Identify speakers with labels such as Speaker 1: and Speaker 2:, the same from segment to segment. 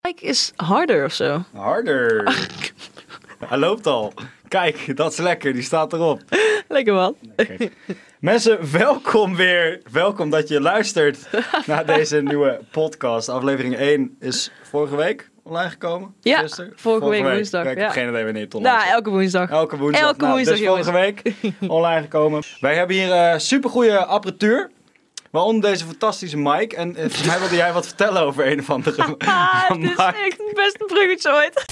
Speaker 1: Kijk is harder of zo.
Speaker 2: Harder. Hij loopt al. Kijk, dat is lekker. Die staat erop.
Speaker 1: Lekker man.
Speaker 2: Kijk. Mensen, welkom weer. Welkom dat je luistert naar deze nieuwe podcast. Aflevering 1 is vorige week online gekomen.
Speaker 1: Ja,
Speaker 2: Gisteren?
Speaker 1: vorige week woensdag,
Speaker 2: Kijk, Ik
Speaker 1: ja.
Speaker 2: heb geen idee wanneer het online
Speaker 1: Nou,
Speaker 2: is.
Speaker 1: elke woensdag.
Speaker 2: Elke woensdag.
Speaker 1: Elke
Speaker 2: Nou,
Speaker 1: woensdag,
Speaker 2: dus vorige week online gekomen. Wij hebben hier eh supergoeie apparatuur. Waaronder deze fantastische mic. En eh, volgens mij wilde jij wat vertellen over een of andere
Speaker 1: Ah, dit is
Speaker 2: mic.
Speaker 1: echt het beste bruggetje ooit.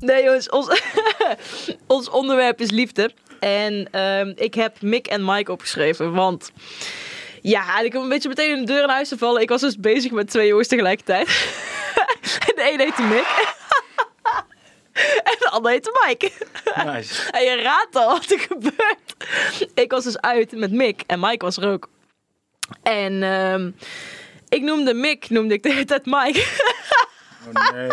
Speaker 1: Nee jongens, ons, ons onderwerp is liefde. En ehm, ik heb Mick en Mike opgeschreven, want... Ja, en ik heb een beetje meteen in de deur in huis te vallen. Ik was dus bezig met twee jongens tegelijkertijd. en de een heette Mick. en de ander heette Mike.
Speaker 2: Nice.
Speaker 1: En je raadt al wat er gebeurt. Ik was dus uit met Mick en Mike was er ook. En ehm, ik noemde Mick, noemde ik de hele tijd Mike.
Speaker 2: Oh nee.
Speaker 1: en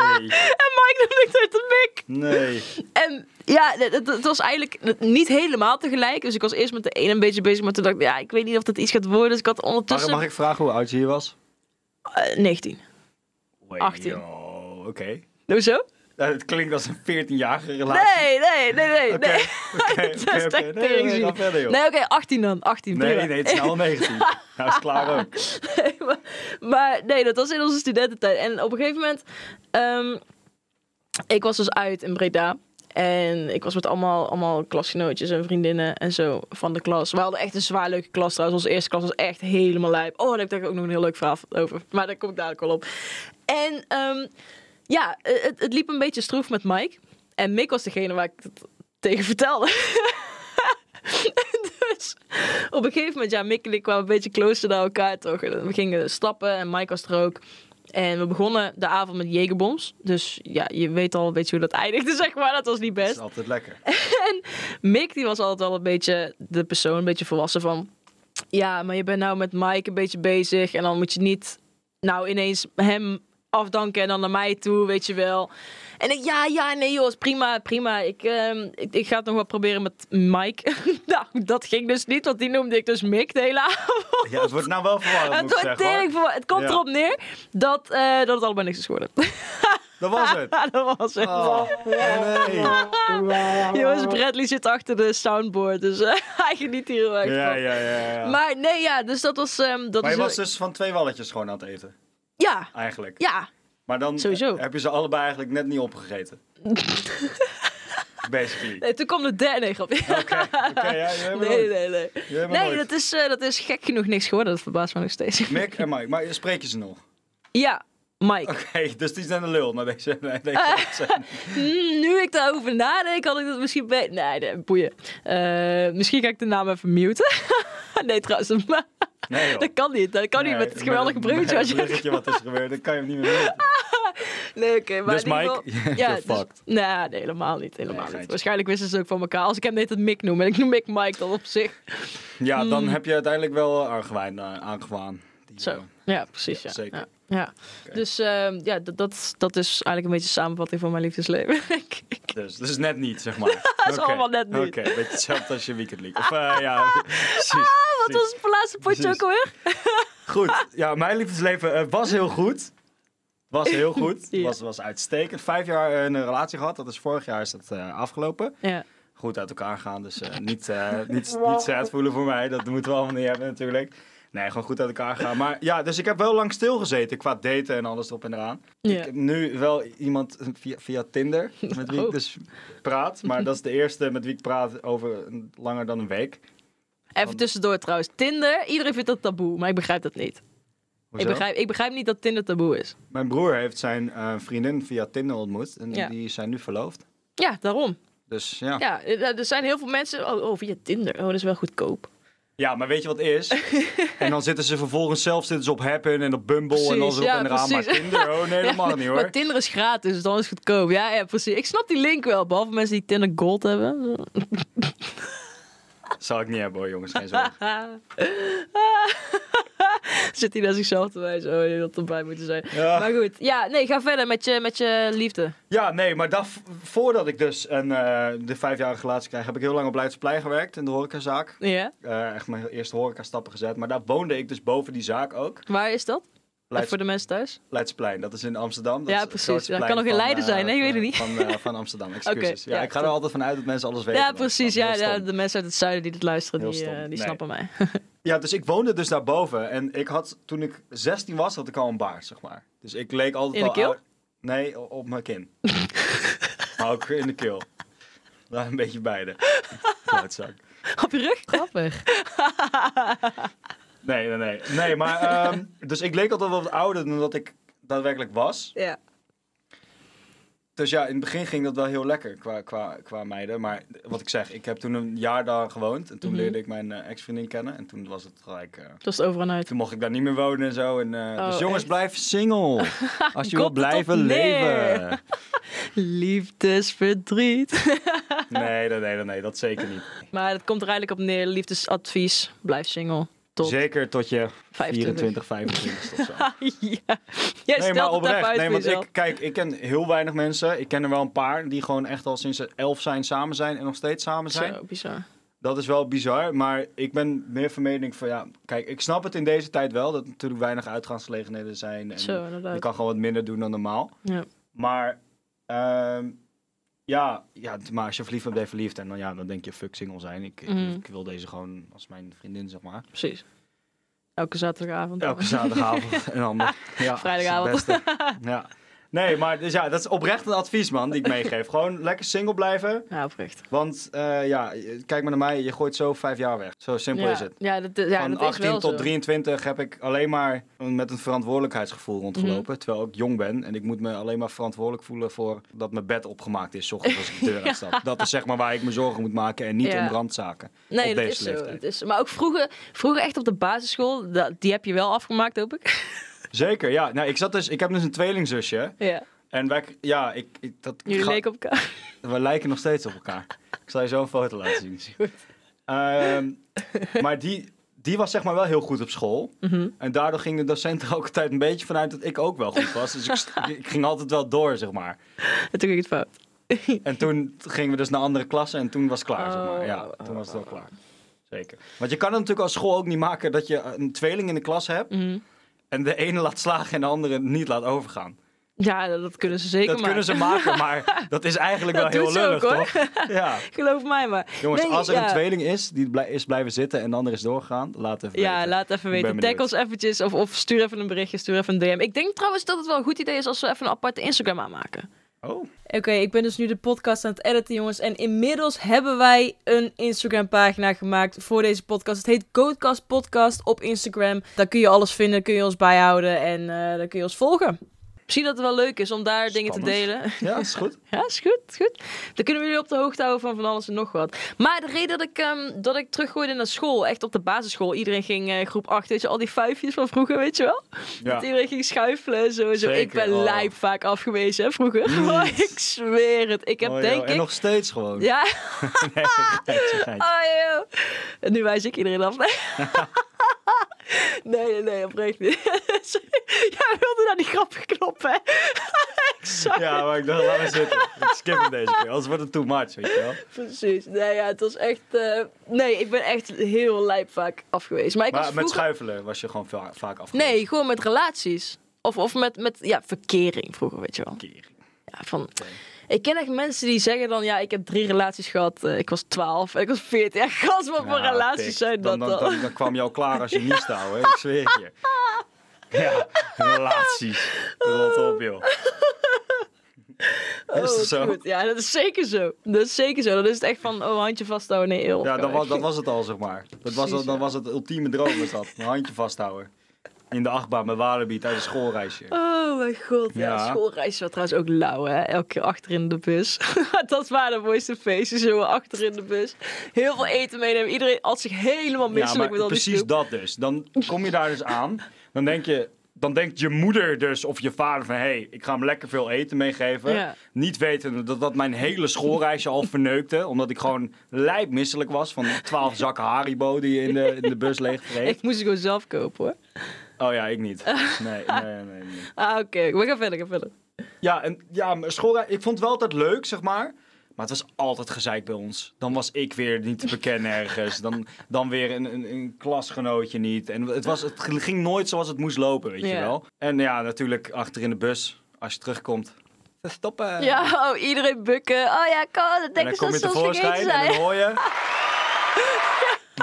Speaker 1: Mike noemde ik de hele tijd Mick.
Speaker 2: Nee.
Speaker 1: En ja, het, het- het was eigenlijk niet helemaal tegelijk. Dus ik was eerst met de ene een beetje bezig, maar toen dacht ik, ja, ik weet niet of dat iets gaat worden. Dus ik had
Speaker 2: Mag,
Speaker 1: ondertussen...
Speaker 2: mag ik vragen hoe oud je hier was?
Speaker 1: Eh, 19. 18.
Speaker 2: Wow, Oké.
Speaker 1: Hoezo?
Speaker 2: Ja, het klinkt als een 14-jarige relatie.
Speaker 1: Nee, nee, nee, nee.
Speaker 2: Oké,
Speaker 1: nee.
Speaker 2: oké,
Speaker 1: Dat is
Speaker 2: oké,
Speaker 1: echt
Speaker 2: oké. Nee, nee, nee,
Speaker 1: teringzielig.
Speaker 2: ga verder, joh.
Speaker 1: Nee, oké, 18 dan. 18,
Speaker 2: Nee,
Speaker 1: prima.
Speaker 2: nee, het is nou al 19. Nou is klaar ook.
Speaker 1: maar, maar nee, dat was in onze studententijd. En op een gegeven moment... ehm, ik was dus uit in Breda. En ik was met allemaal, allemaal klasgenootjes en vriendinnen en zo van de klas. We hadden echt een zwaar leuke klas trouwens. Onze eerste klas was echt helemaal lijp. Oh, daar heb ik denk ik ook nog een heel leuk verhaal over. Maar daar kom ik dadelijk wel op. En ehm, ja, eh, het, het liep een beetje stroef met Mike. En Mick was degene waar ik het tegen vertelde. dus op een gegeven moment, ja, Mick en ik kwamen een beetje closer naar elkaar toch. En We gingen stappen en Mike was er ook. En we begonnen de avond met jegerbombs. Dus ja, je weet al een beetje hoe dat eindigde, zeg maar. Dat was niet
Speaker 2: Dat
Speaker 1: best.
Speaker 2: is altijd lekker.
Speaker 1: Mick die was altijd wel een beetje de persoon, een beetje volwassen van... Ja, maar je bent nou met Mike een beetje bezig en dan moet je niet nou ineens hem afdanken en dan naar mij toe, weet je wel. En ik, ja, ja, nee joh, is prima, prima. Ik, ehm, ik, ik ga het nog wel proberen met Mike. nou, dat ging dus niet, want die noemde ik dus Mick de hele avond.
Speaker 2: Ja, het wordt nou wel verwarrend,
Speaker 1: Het,
Speaker 2: moet ik
Speaker 1: wordt
Speaker 2: zeggen. hoor.
Speaker 1: tering verwar- het komt
Speaker 2: Ja.
Speaker 1: erop neer dat, eh, dat het allemaal niks is geworden.
Speaker 2: Dat was het.
Speaker 1: dat was het.
Speaker 2: Oh, nee.
Speaker 1: Jongens, Bradley zit achter de soundboard, dus eh, hij geniet hier heel erg van.
Speaker 2: Ja, ja, ja. ja.
Speaker 1: Maar nee, ja, dus dat was... ehm, dat
Speaker 2: Maar je
Speaker 1: is
Speaker 2: was dus van twee walletjes gewoon aan het eten,
Speaker 1: Ja,
Speaker 2: eigenlijk.
Speaker 1: ja.
Speaker 2: Maar dan
Speaker 1: Sowieso.
Speaker 2: heb je ze allebei eigenlijk net niet opgegeten. Basically.
Speaker 1: Nee, toen kwam de derde nee, grapje.
Speaker 2: Oké, oké, ja, je hebt
Speaker 1: nee,
Speaker 2: nooit.
Speaker 1: nee, nee.
Speaker 2: Je hebt
Speaker 1: Nee,
Speaker 2: nooit.
Speaker 1: dat is, eh, dat is gek genoeg niks geworden. Dat verbaast me nog steeds.
Speaker 2: Mick en Mike, maar spreek je ze nog?
Speaker 1: Ja, Mike.
Speaker 2: Oké, dus die zijn de lul naar deze. Naar
Speaker 1: Ah.
Speaker 2: deze
Speaker 1: Hmm, nu ik daarover nadenk, had ik dat misschien beter... Nee, nee, boeien. Eh, misschien ga ik de naam even muten. nee, trouwens, maar
Speaker 2: nee, joh.
Speaker 1: dat kan niet. Dat kan
Speaker 2: Oh. Nee,
Speaker 1: niet met het geweldige bruggetje wat
Speaker 2: met
Speaker 1: je
Speaker 2: het
Speaker 1: hebt
Speaker 2: bruggetje wat is gebeurd, dan kan je hem niet meer weten.
Speaker 1: Nee, oké, maar
Speaker 2: Dus
Speaker 1: in ieder
Speaker 2: Mike,
Speaker 1: geval-
Speaker 2: you're
Speaker 1: dus-
Speaker 2: fucked.
Speaker 1: nee, nee, helemaal niet, helemaal
Speaker 2: geintje.
Speaker 1: niet. Waarschijnlijk wisten ze ook van elkaar. Als ik hem net het Mick noem en ik noem ik Mike dan op zich.
Speaker 2: Ja, dan heb je uiteindelijk wel argwijn eh, aangewaan. Die,
Speaker 1: Hmm.
Speaker 2: eh,
Speaker 1: Zo, ja, precies. Ja,
Speaker 2: zeker.
Speaker 1: Ja. ja. Dus ehm, ja, dat- dat, dat is eigenlijk een beetje een samenvatting van mijn liefdesleven. Ik- ik-
Speaker 2: Dus, dus net niet, zeg maar. dat
Speaker 1: is allemaal net niet. Ah.
Speaker 2: Oké, beetje hetzelfde als je weekend league. Of eh, ja, precies.
Speaker 1: Wat was het laatste potje
Speaker 2: Precies.
Speaker 1: ook alweer?
Speaker 2: Goed, ja, mijn liefdesleven eh, was heel goed. Was heel goed.
Speaker 1: Ja.
Speaker 2: was, was uitstekend. Vijf jaar eh, een relatie gehad. Dat is vorig jaar is dat eh, afgelopen.
Speaker 1: Ja.
Speaker 2: Goed uit elkaar gaan, dus eh, niet, eh niet, niet sad voelen voor mij. Dat moeten we allemaal niet hebben natuurlijk. Nee, gewoon goed uit elkaar gaan. Maar ja, dus ik heb wel lang stilgezeten qua daten en alles erop en eraan. Ik
Speaker 1: Ja.
Speaker 2: heb nu wel iemand eh, via, via Tinder met wie ik
Speaker 1: Oh.
Speaker 2: dus praat. Maar dat is de eerste met wie ik praat over een- langer dan een week.
Speaker 1: Even tussendoor trouwens. Tinder, iedereen vindt dat taboe, maar ik begrijp dat niet. Ik
Speaker 2: Hoezo?
Speaker 1: begrijp, ik begrijp niet dat Tinder taboe is.
Speaker 2: Mijn broer heeft zijn eh, vriendin via Tinder ontmoet. En
Speaker 1: Ja.
Speaker 2: die zijn nu verloofd.
Speaker 1: Ja, daarom.
Speaker 2: Dus ja. ja.
Speaker 1: Ja, eh, er er zijn heel veel mensen... Oh, oh, via Tinder. Oh, dat is wel goedkoop.
Speaker 2: maar weet je wat het is? en dan zitten ze vervolgens zelf zitten ze op Happen en op Bumble en
Speaker 1: Precies,
Speaker 2: alles op
Speaker 1: ja,
Speaker 2: en eraan. Maar
Speaker 1: precies.
Speaker 2: Tinder, oh nee, helemaal niet hoor.
Speaker 1: Maar Tinder is gratis, dus dan is het goedkoop. Ja, ja, precies. Ik snap die link wel, behalve mensen die Tinder Gold hebben.
Speaker 2: Zal ik niet hebben hoor jongens, geen zorgen.
Speaker 1: Ah. Zit hij naar zichzelf te wijzen. Oh, je had erbij moeten zijn.
Speaker 2: Ja.
Speaker 1: Maar goed. Ja, nee, ga verder met je, met je liefde.
Speaker 2: Ja, nee, maar dat, voordat ik dus een, eh, de vijfjarige relatie kreeg, heb ik heel lang op Leidseplein gewerkt in de horecazaak.
Speaker 1: Ja?
Speaker 2: Eh, echt mijn eerste horecastappen gezet. Maar daar woonde ik dus boven die zaak ook.
Speaker 1: Waar is dat? Even
Speaker 2: Leids-
Speaker 1: Voor de mensen thuis?
Speaker 2: Leidsplein, dat is in Amsterdam. Dat
Speaker 1: Ja,
Speaker 2: is het
Speaker 1: precies.
Speaker 2: grootste
Speaker 1: Ja,
Speaker 2: plein
Speaker 1: kan nog in
Speaker 2: van,
Speaker 1: Leiden
Speaker 2: eh,
Speaker 1: zijn, hè? Ik weet het
Speaker 2: van-
Speaker 1: niet.
Speaker 2: Van, eh, van Amsterdam, excuses.
Speaker 1: Oké,
Speaker 2: ja,
Speaker 1: ja,
Speaker 2: ik ga er
Speaker 1: klopt.
Speaker 2: altijd vanuit dat mensen alles weten.
Speaker 1: Ja,
Speaker 2: maar dat is
Speaker 1: precies.
Speaker 2: heel
Speaker 1: Ja, ja,
Speaker 2: stom.
Speaker 1: de mensen uit het zuiden die dit luisteren,
Speaker 2: Heel
Speaker 1: die, eh,
Speaker 2: stom.
Speaker 1: die
Speaker 2: Nee.
Speaker 1: snappen mij.
Speaker 2: Ja, dus ik woonde dus daarboven. En ik had, toen ik 16 was, had ik al een baard, zeg maar. Dus ik leek altijd
Speaker 1: In de
Speaker 2: al
Speaker 1: keel?
Speaker 2: oud- Nee, o- op mijn kin. maar ook in de keel. Nou, een beetje beide. Klootzak.
Speaker 1: Op je rug?
Speaker 3: Grappig.
Speaker 2: Nee, nee, nee. Nee, maar... ehm, dus ik leek altijd wel wat ouder dan dat ik daadwerkelijk was.
Speaker 1: Ja.
Speaker 2: Dus ja, in het begin ging dat wel heel lekker qua, qua, qua meiden. Maar wat ik zeg, ik heb toen een jaar daar gewoond. En toen
Speaker 1: Mhm.
Speaker 2: leerde ik mijn eh, ex-vriendin kennen. En toen was het gelijk... eh,
Speaker 1: Dat is het over en uit.
Speaker 2: toen mocht ik daar niet meer wonen en zo. En, eh,
Speaker 1: Oh,
Speaker 2: dus jongens,
Speaker 1: echt?
Speaker 2: blijf single. Als je wil
Speaker 1: Komt het op
Speaker 2: blijven
Speaker 1: neer?
Speaker 2: leven.
Speaker 1: Liefdesverdriet.
Speaker 2: Nee, nee, nee, nee, nee, dat zeker niet.
Speaker 1: Maar dat komt er eigenlijk op neer. Liefdesadvies. Blijf single. Tot.
Speaker 2: Zeker tot je 24,
Speaker 1: 25.
Speaker 2: 25 of zo.
Speaker 1: ja. Jij
Speaker 2: Nee,
Speaker 1: stelt het
Speaker 2: maar
Speaker 1: even
Speaker 2: oprecht.
Speaker 1: uit
Speaker 2: Nee,
Speaker 1: voor
Speaker 2: want
Speaker 1: jezelf.
Speaker 2: ik, kijk, ik ken heel weinig mensen. Ik ken er wel een paar die gewoon echt al sinds ze elf zijn samen zijn en nog steeds samen zijn.
Speaker 1: Zo, bizar.
Speaker 2: Dat is wel bizar, maar ik ben meer van mening van ja, kijk, ik snap het in deze tijd wel dat er natuurlijk weinig uitgaansgelegenheden zijn. En
Speaker 1: Zo,
Speaker 2: je
Speaker 1: inderdaad.
Speaker 2: kan gewoon wat minder doen dan normaal.
Speaker 1: Ja.
Speaker 2: Maar ehm, ja, ja, maar als je verliefd bent, ben je verliefd. En dan, ja, dan denk je, fuck single zijn. Ik, ik-
Speaker 1: Mhm.
Speaker 2: ik wil deze gewoon als mijn vriendin, zeg maar.
Speaker 1: Precies. Elke zaterdagavond.
Speaker 2: Elke zaterdagavond en ander. Ja,
Speaker 1: Vrijdagavond.
Speaker 2: dat is het beste. Ja. Nee, maar dus ja, dat is oprecht een advies, man, die ik meegeef. Gewoon lekker single blijven.
Speaker 1: Ja, oprecht.
Speaker 2: Want eh, ja, kijk maar naar mij, je gooit zo vijf jaar weg. Zo simpel
Speaker 1: ja.
Speaker 2: is het.
Speaker 1: Ja, dat, ja,
Speaker 2: Van
Speaker 1: dat is
Speaker 2: 18
Speaker 1: wel
Speaker 2: tot
Speaker 1: zo.
Speaker 2: 23 heb ik alleen maar met een verantwoordelijkheidsgevoel rondgelopen.
Speaker 1: Mhm.
Speaker 2: Terwijl ik jong ben en ik moet me alleen maar verantwoordelijk voelen voor dat mijn bed opgemaakt is. 's ochtends als ik de deur uitstap. Dat is zeg maar waar ik me zorgen moet maken en niet
Speaker 1: Ja.
Speaker 2: om brandzaken.
Speaker 1: Nee,
Speaker 2: op
Speaker 1: dat
Speaker 2: deze
Speaker 1: is zo.
Speaker 2: leeftijd.
Speaker 1: Dat is, maar ook vroeger, vroeger echt op de basisschool, dat, die heb je wel afgemaakt, hoop ik.
Speaker 2: Zeker, ja. Nou, ik, zat dus, ik heb dus een tweelingzusje.
Speaker 1: ja.
Speaker 2: En wij, ja, ik, ik- dat
Speaker 1: Jullie
Speaker 2: ga-
Speaker 1: leken op elkaar.
Speaker 2: we lijken nog steeds op elkaar. ik zal je zo een foto laten zien.
Speaker 1: goed.
Speaker 2: Ehm, maar die, die was zeg maar wel heel goed op school.
Speaker 1: Mhm.
Speaker 2: En daardoor ging de docent er ook altijd een beetje vanuit dat ik ook wel goed was. Dus ik, st- ik ging altijd wel door, zeg maar.
Speaker 1: En toen ging het fout.
Speaker 2: En toen gingen we dus naar andere klassen en toen was het klaar, zeg maar.
Speaker 1: Oh,
Speaker 2: Ja,
Speaker 1: oh,
Speaker 2: toen was het wel
Speaker 1: oh.
Speaker 2: klaar. Zeker. Want je kan het natuurlijk als school ook niet maken dat je een tweeling in de klas hebt...
Speaker 1: Mhm.
Speaker 2: en de ene laat slagen en de andere niet laat overgaan.
Speaker 1: Ja, dat, dat kunnen ze zeker
Speaker 2: dat kunnen ze maken, maar dat is eigenlijk
Speaker 1: Dat
Speaker 2: wel heel
Speaker 1: doen ze ook,
Speaker 2: lullig, toch? Ja.
Speaker 1: Geloof mij maar.
Speaker 2: Jongens,
Speaker 1: Nee,
Speaker 2: als er
Speaker 1: ja.
Speaker 2: een tweeling is die blij- is blijven zitten en de ander is doorgegaan, laat even
Speaker 1: Ja,
Speaker 2: weten.
Speaker 1: laat even weten.
Speaker 2: ben
Speaker 1: Tag
Speaker 2: benieuwd.
Speaker 1: ons eventjes of, of stuur even een berichtje, stuur even een DM. Ik denk trouwens dat het wel een goed idee is als we even een aparte Instagram aanmaken.
Speaker 2: Oh,
Speaker 3: Oké, ik ben dus nu de podcast aan het editen, jongens. En inmiddels hebben wij een Instagram-pagina gemaakt voor deze podcast. Het heet Codecast Podcast op Instagram. Daar kun je alles vinden, kun je ons bijhouden en eh, daar kun je ons volgen.
Speaker 1: Misschien dat het wel leuk is om daar dingen te
Speaker 2: Spannend.
Speaker 1: delen.
Speaker 2: ja, is goed.
Speaker 1: Ja, is goed, is goed. Dan kunnen we jullie op de hoogte houden van van alles en nog wat. Maar de reden dat ik, ehm, dat ik teruggooide naar school, echt op de basisschool. Iedereen ging eh, groep 8, weet je, al die vijfjes van vroeger, weet je wel?
Speaker 2: Ja.
Speaker 1: Dat iedereen ging schuifelen en zo. en zo.
Speaker 2: Zeker,
Speaker 1: Ik ben
Speaker 2: oh.
Speaker 1: lijp vaak afgewezen, hè, vroeger. Maar ik zweer het. Ik heb
Speaker 2: Oh, joh,
Speaker 1: denk
Speaker 2: En
Speaker 1: ik...
Speaker 2: nog steeds gewoon.
Speaker 1: Ja,
Speaker 2: Nee, geintje, geintje.
Speaker 1: oh, joh. En Nu wijs ik iedereen af. Nee, nee, nee, oprecht niet. Jij wilde naar die grap knoppen, hè? ik zag
Speaker 2: Ja, maar ik dacht, laat maar zitten. Ik skip hem deze keer, anders wordt het too much, weet je wel.
Speaker 1: Precies. Nee, ja, het was echt. eh, Nee, ik ben echt heel lijp vaak afgewezen. Maar ik
Speaker 2: Maar
Speaker 1: was
Speaker 2: met
Speaker 1: vroeger...
Speaker 2: schuifelen was je gewoon va- vaak af.
Speaker 1: Nee, gewoon met relaties. Of, of met, met ja, verkering vroeger, weet je wel. Ja, van... Ik ken echt mensen die zeggen dan, ja, ik heb drie relaties gehad. eh, ik was twaalf en ik was veertien. Ja, gast, wat voor relaties zijn dat
Speaker 2: dan?
Speaker 1: dan?
Speaker 2: Dan, dan, dan kwam je al klaar als je niet stouw, hè? Ik zweer het je. Ja, relaties. Rot op, joh.
Speaker 1: Oh,
Speaker 2: Is dat zo?
Speaker 1: goed. Ja, dat is zeker zo. Dat is zeker zo. Dan is het echt van, oh, handje vasthouden, nee, eeuw.
Speaker 2: Ja, dat was, dat was het al, zeg maar. Dat was,
Speaker 1: Precies,
Speaker 2: al- dan
Speaker 1: ja.
Speaker 2: was het ultieme droom, was dat. Een handje vasthouden. In de achtbaan met Walibi tijdens een schoolreisje.
Speaker 1: Oh mijn god, ja.
Speaker 2: Ja.
Speaker 1: Schoolreis was trouwens ook lauw, hè? Elke keer achter in de bus. dat waren de mooiste feestjes, zo achter in de bus. Heel veel eten meenemen. Iedereen had zich helemaal
Speaker 2: Ja,
Speaker 1: misselijk
Speaker 2: maar
Speaker 1: met al die
Speaker 2: precies
Speaker 1: snoep.
Speaker 2: dat dus. Dan kom je daar dus aan. Dan denk je, Dan denkt je moeder dus of je vader van... hé, hey, ik ga hem lekker veel eten meegeven.
Speaker 1: Ja.
Speaker 2: Niet weten dat dat mijn hele schoolreisje al verneukte. Omdat ik gewoon lijpmisselijk was van 12 zakken Haribo die je in de, in de bus leeg
Speaker 1: Ik moest het gewoon zelf kopen hoor.
Speaker 2: Oh ja, ik niet. Nee, nee, nee. nee.
Speaker 1: Ah, oké. We gaan verder, we gaan verder.
Speaker 2: Ja, en, ja mijn schoolreis... Ik vond het wel altijd leuk, zeg maar. Maar het was altijd gezeik bij ons. Dan was ik weer niet te bekennen ergens. Dan, dan weer een, een, een klasgenootje niet. En het, was, het ging nooit zoals het moest lopen, weet je
Speaker 1: Ja.
Speaker 2: wel. En ja, natuurlijk achter in de bus, als je terugkomt. Stoppen!
Speaker 1: Ja, oh, iedereen bukken. Oh ja, kan. Dat
Speaker 2: en dan
Speaker 1: denken ze
Speaker 2: kom je
Speaker 1: dat ze ons
Speaker 2: tevoorschijn
Speaker 1: vergeten
Speaker 2: en dan
Speaker 1: zijn.
Speaker 2: hoor je...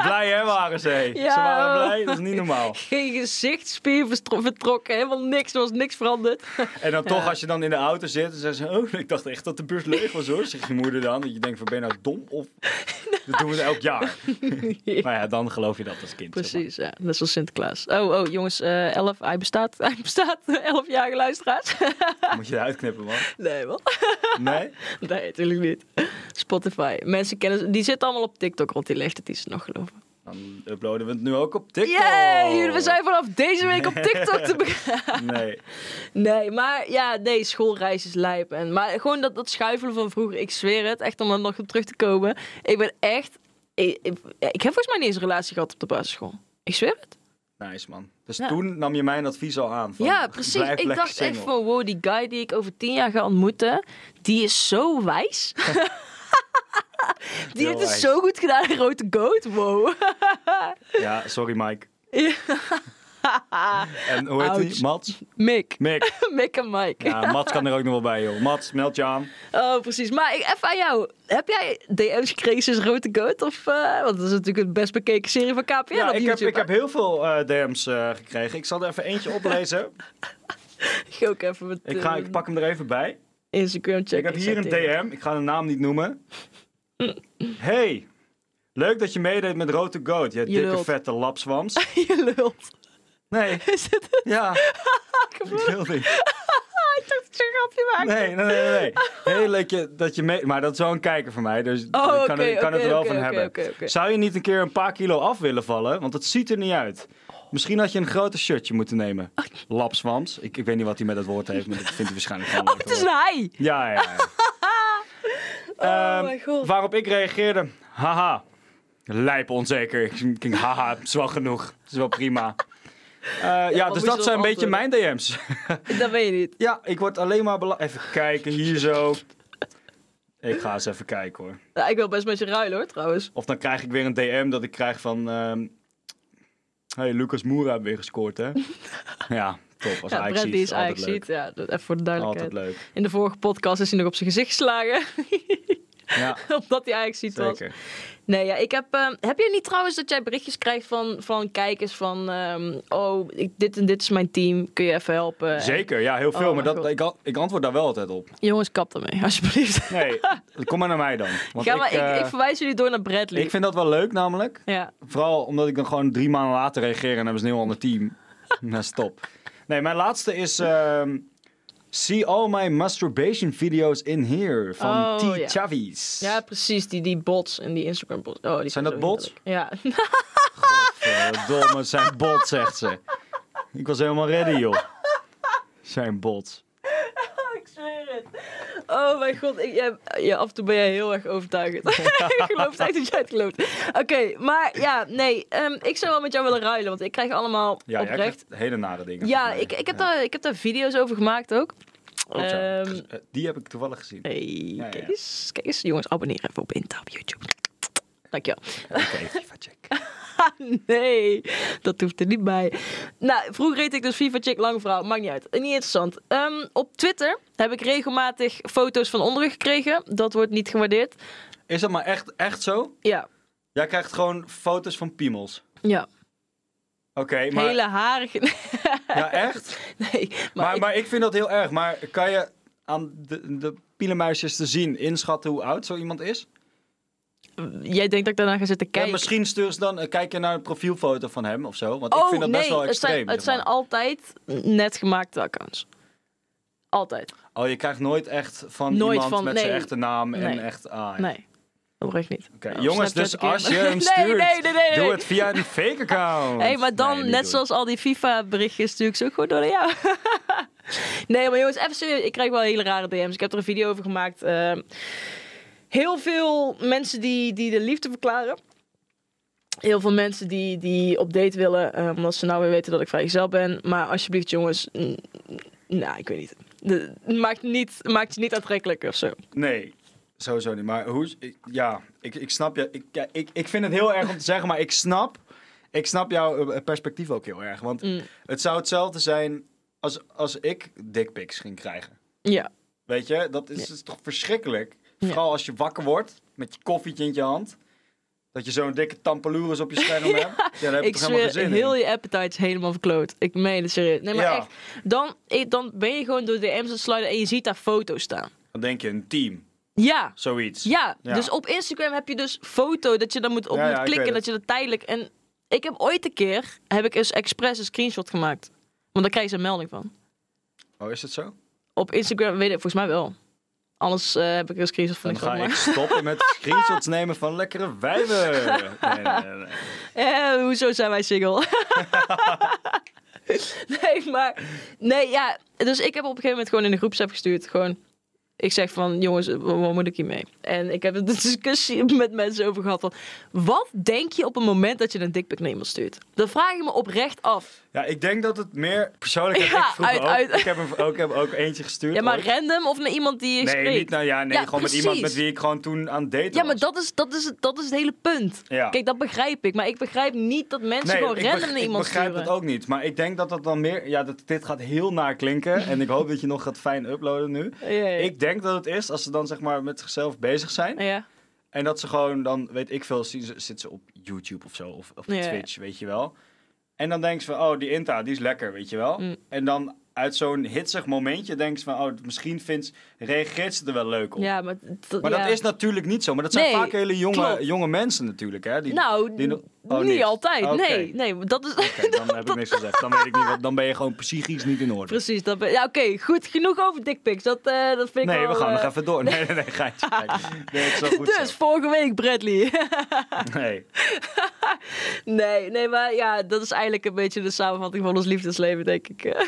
Speaker 2: Blij hè, waren ze.
Speaker 1: Ja.
Speaker 2: Ze waren blij, dat is niet normaal.
Speaker 1: Geen gezichtsspier verstro- vertrokken, helemaal niks. Er was niks veranderd.
Speaker 2: En dan toch,
Speaker 1: Ja.
Speaker 2: als je dan in de auto zit, dan zeggen ze... Oh, ik dacht echt dat de bus leeg was, hoor. Zegt je moeder dan. Dat je denkt van, ben je nou dom? Of... Dat doen we nou elk jaar. Maar ja, dan geloof je dat als kind. zeg maar.
Speaker 1: Precies, ja. Net zoals Sinterklaas. Oh, oh, jongens, eh, 11. Hij bestaat. Hij bestaat. 11-jarige luisteraars.
Speaker 2: Moet je eruit knippen, man.
Speaker 1: Nee, man.
Speaker 2: Nee?
Speaker 1: Nee, natuurlijk niet. Spotify. Mensen kennen... Die zitten allemaal op TikTok rond. Die leeftijds nog, geloof ik.
Speaker 2: Dan uploaden we het nu ook op TikTok.
Speaker 1: Yay! We zijn vanaf deze week op TikTok te beginnen.
Speaker 2: Nee.
Speaker 1: Nee, maar ja, nee, schoolreis is lijp. En, maar gewoon dat, dat schuifelen van vroeger, ik zweer het, echt om er nog op terug te komen. Ik ben echt... Ik, ik, ik heb volgens mij niet eens een relatie gehad op de basisschool. Ik zweer het.
Speaker 2: Nice, man. Dus
Speaker 1: Ja.
Speaker 2: toen nam je mijn advies al aan. Van,
Speaker 1: ja, precies.
Speaker 2: blijf
Speaker 1: ik
Speaker 2: lekker
Speaker 1: dacht echt
Speaker 2: single.
Speaker 1: van, wow, die guy die ik over tien jaar ga ontmoeten, die is zo wijs. die
Speaker 2: Heel
Speaker 1: heeft het
Speaker 2: wijs.
Speaker 1: zo goed gedaan in Grote Goat, wow.
Speaker 2: Ja, sorry, Mike.
Speaker 1: Ja.
Speaker 2: En hoe heet
Speaker 1: Ouch.
Speaker 2: die? Mats?
Speaker 1: Mick.
Speaker 2: Mick.
Speaker 1: Mick en Mike.
Speaker 2: Ja, Mats kan er ook nog wel bij, joh. Mats, meld je aan.
Speaker 1: Oh, precies. Maar ik, even aan jou. Heb jij DM's gekregen sinds Grote Goat? Of, eh, want dat is natuurlijk het best bekeken serie van KPN
Speaker 2: Ja,
Speaker 1: op
Speaker 2: ik, heb,
Speaker 1: YouTube.
Speaker 2: ik heb heel veel eh, DM's eh, gekregen. Ik zal er even eentje oplezen.
Speaker 1: Ik ga ook even met eh,
Speaker 2: Ik, ga, ik pak hem er even bij.
Speaker 1: Instagram checken.
Speaker 2: Ik heb hier een DM, ik ga de naam niet noemen. Hey, leuk dat je meedeed met Road to Goat, je dikke
Speaker 1: lult.
Speaker 2: vette lapswams.
Speaker 1: Je lult.
Speaker 2: Nee,
Speaker 1: Is dit een
Speaker 2: ja, ik wil niet.
Speaker 1: grapje maken?
Speaker 2: Nee, nee, nee, nee. Heel leuk je, dat je mee... Maar dat is wel een kijker van mij, dus
Speaker 1: Oh,
Speaker 2: ik
Speaker 1: oké,
Speaker 2: kan, er- ik kan het
Speaker 1: oké,
Speaker 2: er wel
Speaker 1: oké,
Speaker 2: van
Speaker 1: oké,
Speaker 2: hebben.
Speaker 1: oké, oké.
Speaker 2: Zou je niet een keer een paar kilo af willen vallen? Want het ziet er niet uit. Misschien had je een groter shirtje moeten nemen. Lapswams. Ik, ik weet niet wat hij met dat woord heeft, maar dat vindt hij waarschijnlijk gewoon
Speaker 1: Oh,
Speaker 2: leuk
Speaker 1: het is
Speaker 2: woord.
Speaker 1: een hij.
Speaker 2: Ja, ja, ja.
Speaker 1: Oh
Speaker 2: Ehm,
Speaker 1: mijn god.
Speaker 2: Waarop ik reageerde, haha, lijp onzeker. Ik ging, haha, is wel genoeg, is wel prima. Eh, ja,
Speaker 1: wat
Speaker 2: dus
Speaker 1: moest
Speaker 2: dat
Speaker 1: je
Speaker 2: zijn een
Speaker 1: dan
Speaker 2: beetje mijn DM's.
Speaker 1: Dat weet je niet.
Speaker 2: ja, ik word alleen maar bela- Even kijken, hier zo. Ik ga eens even kijken hoor.
Speaker 1: Ja, ik wil best met je ruilen hoor, trouwens.
Speaker 2: Of dan krijg ik weer een DM dat ik krijg van... ehm, hey, Lucas Moura heeft weer gescoord hè. ja, top, als
Speaker 1: Ja,
Speaker 2: Ajax
Speaker 1: Brad
Speaker 2: ziet,
Speaker 1: die is
Speaker 2: altijd
Speaker 1: eigenlijk
Speaker 2: leuk.
Speaker 1: ziet. Ja, dat, even voor de
Speaker 2: Altijd
Speaker 1: duidelijkheid.
Speaker 2: leuk,
Speaker 1: In de vorige podcast is hij nog op zijn gezicht geslagen.
Speaker 2: ja,
Speaker 1: Omdat hij eigenlijk ziet was.
Speaker 2: zeker.
Speaker 1: Nee, ja, ik heb. ehm, heb je niet trouwens dat jij berichtjes krijgt van, van kijkers van. ehm, oh, ik, dit en dit is mijn team, kun je even helpen? En-
Speaker 2: Zeker, ja, heel veel,
Speaker 1: Oh,
Speaker 2: maar
Speaker 1: goed.
Speaker 2: dat, ik, an- ik antwoord daar wel altijd op.
Speaker 1: jongens, kap daarmee, alsjeblieft.
Speaker 2: Nee, kom maar naar mij dan. Want
Speaker 1: Ga maar,
Speaker 2: ik, eh,
Speaker 1: ik, ik verwijs jullie door naar Bradley.
Speaker 2: ik vind dat wel leuk namelijk.
Speaker 1: Ja.
Speaker 2: Vooral omdat ik dan gewoon drie maanden later reageer en hebben ze een heel ander team. nou, stop. Nee, mijn laatste is... ehm, See all my masturbation videos in here van
Speaker 1: Oh,
Speaker 2: T.
Speaker 1: ja.
Speaker 2: Chavies.
Speaker 1: ja, precies, die, die bots en die Instagram-bots. Oh, die
Speaker 2: Zijn
Speaker 1: zo
Speaker 2: dat bots?
Speaker 1: hinderlijk. Ja.
Speaker 2: Godverdomme, zijn bot, zegt ze. Ik was helemaal ready, joh. Zijn bot.
Speaker 1: Ik zweer het. Oh mijn god, ik, ja, ja, af en toe ben jij heel erg overtuigend. ik geloof echt dat jij het gelooft. Oké, maar ja, nee, ehm, ik zou wel met jou willen ruilen, want ik krijg allemaal
Speaker 2: Ja, jij
Speaker 1: oprecht.
Speaker 2: krijgt hele nare dingen.
Speaker 1: Ja,
Speaker 2: van mij.
Speaker 1: ik, ik, heb
Speaker 2: Ja,
Speaker 1: Daar, ik heb daar video's over gemaakt ook.
Speaker 2: klopt, ja.
Speaker 1: Ehm,
Speaker 2: Dus, eh, Die heb ik toevallig gezien.
Speaker 1: hey,
Speaker 2: ja.
Speaker 1: kijk, eens, kijk eens, jongens, abonneer even op Inta op YouTube. Dankjewel. Ah,
Speaker 2: Oké, even check.
Speaker 1: nee, dat hoeft er niet bij. Nou, vroeger reed ik dus FIFA Chick lang vrouw. Maakt niet uit. Niet interessant. Ehm, op Twitter heb ik regelmatig foto's van onderen gekregen. Dat wordt niet gewaardeerd.
Speaker 2: Is dat maar echt, echt zo?
Speaker 1: Ja,
Speaker 2: Jij krijgt gewoon foto's van piemels.
Speaker 1: ja.
Speaker 2: Oké, maar...
Speaker 1: Hele harige...
Speaker 2: Ja, echt?
Speaker 1: Nee, maar,
Speaker 2: Maar, maar,
Speaker 1: ik-
Speaker 2: ik... vind dat heel erg. Maar kan je aan de, de pielenmuisjes te zien inschatten hoe oud zo iemand is?
Speaker 1: jij denkt dat ik daarna ga zitten
Speaker 2: Kijk.
Speaker 1: kijken.
Speaker 2: misschien sturen ze dan, eh, kijk je naar een profielfoto van hem of zo. Want ik
Speaker 1: oh,
Speaker 2: vind dat
Speaker 1: nee,
Speaker 2: best wel extreem.
Speaker 1: het zijn, het
Speaker 2: zeg
Speaker 1: zijn
Speaker 2: maar.
Speaker 1: altijd net gemaakte accounts. Altijd.
Speaker 2: Oh, je krijgt nooit echt van
Speaker 1: Nooit
Speaker 2: iemand
Speaker 1: van-
Speaker 2: met
Speaker 1: nee.
Speaker 2: zijn echte naam en
Speaker 1: Nee.
Speaker 2: echt... Ah, ja.
Speaker 1: Nee. Oprecht niet.
Speaker 2: Oké,
Speaker 1: Nou,
Speaker 2: jongens, dus
Speaker 1: Snapchat een
Speaker 2: als
Speaker 1: keer.
Speaker 2: je hem
Speaker 1: Nee,
Speaker 2: stuurt,
Speaker 1: nee, nee, nee, nee.
Speaker 2: doe het via een fake account.
Speaker 1: hey, maar dan,
Speaker 2: Nee, niet
Speaker 1: net
Speaker 2: doen.
Speaker 1: zoals al die FIFA-berichtjes, stuur ik ze ook gewoon door naar jou. nee, maar jongens, even serieus. Ik krijg wel hele rare DM's. Ik heb er een video over gemaakt. Ehm, heel veel mensen die, die de liefde verklaren. Heel veel mensen die, die op date willen, eh, omdat ze nou weer weten dat ik vrijgezel ben. Maar alsjeblieft, jongens, mm, mm, nou, ik weet niet. De- maakt, niet maakt je niet aantrekkelijk of zo.
Speaker 2: Nee, sowieso niet. Maar hoe... ik- Ja, ik, ik snap je. Ik, ja, ik, ik vind het heel erg om te zeggen, maar ik snap... Ik snap jouw eh, perspectief ook heel erg. Want
Speaker 1: Mm,
Speaker 2: het zou hetzelfde zijn als, als ik dickpics ging krijgen.
Speaker 1: ja,
Speaker 2: Weet je, dat is, is toch verschrikkelijk. Vooral als je wakker wordt met je koffietje in je hand. Dat je zo'n dikke tampelures op je scherm hebt. Ja, daar heb ik
Speaker 1: ik
Speaker 2: toch helemaal
Speaker 1: zweer,
Speaker 2: geen zin
Speaker 1: heel
Speaker 2: in.
Speaker 1: je appetite is helemaal verkloot. Ik meen het serieus. Nee, maar
Speaker 2: Ja.
Speaker 1: echt, dan, eh, dan ben je gewoon door de DM's aan het sliden en je ziet daar foto's staan.
Speaker 2: Dan denk je, een team,
Speaker 1: Ja,
Speaker 2: zoiets.
Speaker 1: ja.
Speaker 2: Ja.
Speaker 1: Dus op Instagram heb je dus foto dat je dan moet op
Speaker 2: Ja, ja,
Speaker 1: moet
Speaker 2: ik
Speaker 1: klikken,
Speaker 2: weet
Speaker 1: dat je dat tijdelijk... En ik heb ooit een keer, heb ik eens expres een screenshot gemaakt. Want daar krijg je een melding van.
Speaker 2: Oh, is dat zo?
Speaker 1: Op Instagram, weet ik, volgens mij wel. Anders eh, heb ik er een screenshot van
Speaker 2: Dan
Speaker 1: niks
Speaker 2: ga
Speaker 1: van gemaakt.
Speaker 2: ik stoppen met screenshots nemen van lekkere wijven. Nee, nee, nee, nee.
Speaker 1: Eh, hoezo zijn wij single? nee, maar... Nee, ja. Dus ik heb op een gegeven moment gewoon in de groepsapp gestuurd. Gewoon... Ik zeg van, jongens, w- wat moet ik hiermee? En ik heb een discussie met mensen over gehad van... Wat denk je op het moment dat je een dickpic naar iemand stuurt? Dan vraag ik me oprecht af.
Speaker 2: Ja, ik denk dat het meer... Persoonlijk heb
Speaker 1: Ja,
Speaker 2: ik vroeger
Speaker 1: uit-
Speaker 2: ook...
Speaker 1: uit.
Speaker 2: Ik heb, hem ook, ik heb ook eentje gestuurd.
Speaker 1: Ja, maar
Speaker 2: ooit.
Speaker 1: random of naar iemand die je
Speaker 2: Nee,
Speaker 1: spreekt?
Speaker 2: niet nou ja, nee,
Speaker 1: Ja,
Speaker 2: gewoon met iemand met
Speaker 1: precies.
Speaker 2: wie ik gewoon toen aan het daten
Speaker 1: Ja, maar
Speaker 2: was.
Speaker 1: dat is, dat, is het, dat is het hele punt.
Speaker 2: Ja.
Speaker 1: Kijk, dat begrijp ik. Maar ik begrijp niet dat mensen gewoon
Speaker 2: ik
Speaker 1: random
Speaker 2: beg-
Speaker 1: naar iemand
Speaker 2: Ik begrijp
Speaker 1: sturen.
Speaker 2: dat ook niet. Maar ik denk dat dat dan meer... Ja, dat, dit gaat heel naar klinken. en ik hoop dat je nog gaat fijn uploaden nu.
Speaker 1: Ja, ja, ja.
Speaker 2: Ik denk dat het is als ze dan zeg maar met zichzelf bezig zijn.
Speaker 1: Ja.
Speaker 2: En dat ze gewoon dan, weet ik veel, zien ze- zit ze op YouTube of zo. Of, of
Speaker 1: Ja.
Speaker 2: Twitch, weet je wel. En dan denken ze van, oh, die Inta, die is lekker, weet je wel.
Speaker 1: Mm.
Speaker 2: En dan uit zo'n hitsig momentje denken ze van, oh, misschien vindt, ze- reageert ze er wel leuk op.
Speaker 1: ja, maar... t-
Speaker 2: Maar
Speaker 1: ja.
Speaker 2: dat is natuurlijk niet zo. Maar dat zijn
Speaker 1: Nee,
Speaker 2: vaak hele jonge,
Speaker 1: klopt.
Speaker 2: jonge mensen natuurlijk, hè. Die,
Speaker 1: nou,
Speaker 2: die nog- oh,
Speaker 1: niet
Speaker 2: niks.
Speaker 1: altijd.
Speaker 2: Oké.
Speaker 1: Nee, nee, want dat is
Speaker 2: Oké, dan heb ik niks gezegd. Dan weet ik niet wat. Dan ben je gewoon psychisch niet in orde.
Speaker 1: precies. Dat ben- ja, oké, goed. Genoeg over dickpics. Dat, eh, dat vind ik
Speaker 2: Nee, we
Speaker 1: wel,
Speaker 2: gaan nog
Speaker 1: eh,
Speaker 2: even door. Nee, nee, nee, geitje. geitje. Nee, het is wel goed
Speaker 1: Dus vorige week Bradley.
Speaker 2: zo. Nee.
Speaker 1: nee, nee, maar ja, dat is eigenlijk een beetje de samenvatting van ons liefdesleven, denk ik. eh.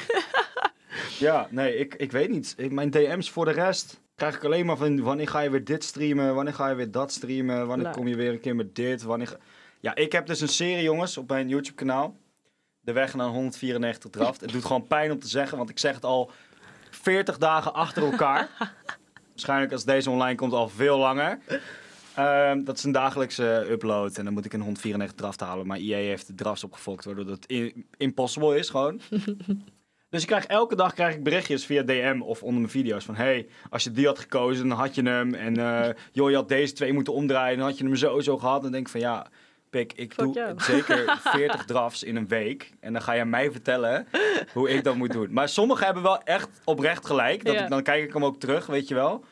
Speaker 2: Ja, nee, ik, ik weet niet. Ik- mijn DM's voor de rest krijg ik alleen maar van wanneer ga je weer dit streamen, wanneer ga je weer dat streamen, wanneer
Speaker 1: Nou.
Speaker 2: kom je weer een keer met dit, wanneer... ga- Ja, ik heb dus een serie, jongens, op mijn YouTube-kanaal. De weg naar 194 draft. Het doet gewoon pijn om te zeggen, want ik zeg het al 40 dagen achter elkaar. Waarschijnlijk als deze online komt al veel langer. Ehm, dat is een dagelijkse upload en dan moet ik een 194 draft halen. Maar EA heeft de drafts opgefokt, waardoor dat i- impossible is gewoon. Dus ik krijg, elke dag krijg ik berichtjes via DM of onder mijn video's van... hey, als je die had gekozen, dan had je hem. En eh, joh, je had deze twee moeten omdraaien, dan had je hem sowieso gehad. Dan denk ik van ja, pik, ik
Speaker 1: Fuck
Speaker 2: doe
Speaker 1: jou.
Speaker 2: zeker 40 drafts in een week. En dan ga jij mij vertellen hoe ik dat moet doen. Maar sommigen hebben wel echt oprecht gelijk. Dat
Speaker 1: Ja.
Speaker 2: ik, dan kijk ik hem ook terug, weet je wel.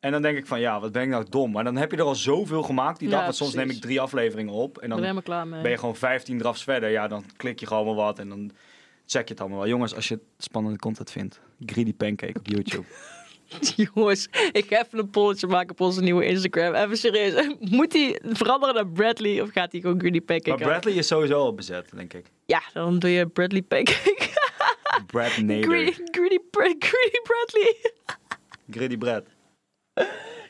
Speaker 2: En dan denk ik van ja, wat ben ik nou dom. Maar dan heb je er al zoveel gemaakt die
Speaker 1: Ja,
Speaker 2: dag. Want soms
Speaker 1: precies.
Speaker 2: neem ik drie afleveringen op. En
Speaker 1: Ik ben
Speaker 2: dan
Speaker 1: helemaal klaar mee.
Speaker 2: ben je gewoon 15 drafts verder. Ja, dan klik je gewoon maar wat en dan check je het allemaal wel. Jongens, als je spannende content vindt, Greedy Pancake op YouTube.
Speaker 1: Jongens, ik ga even een polletje maken op onze nieuwe Instagram. Even serieus. Moet hij veranderen naar Bradley of gaat hij gewoon Greedy Pancake
Speaker 2: maar
Speaker 1: houden?
Speaker 2: Bradley is sowieso al bezet, denk ik.
Speaker 1: Ja, dan doe je Bradley Pancake.
Speaker 2: Brad
Speaker 1: Greedy,
Speaker 2: Nader.
Speaker 1: greedy, Bra- greedy Bradley.
Speaker 2: Greedy Brad.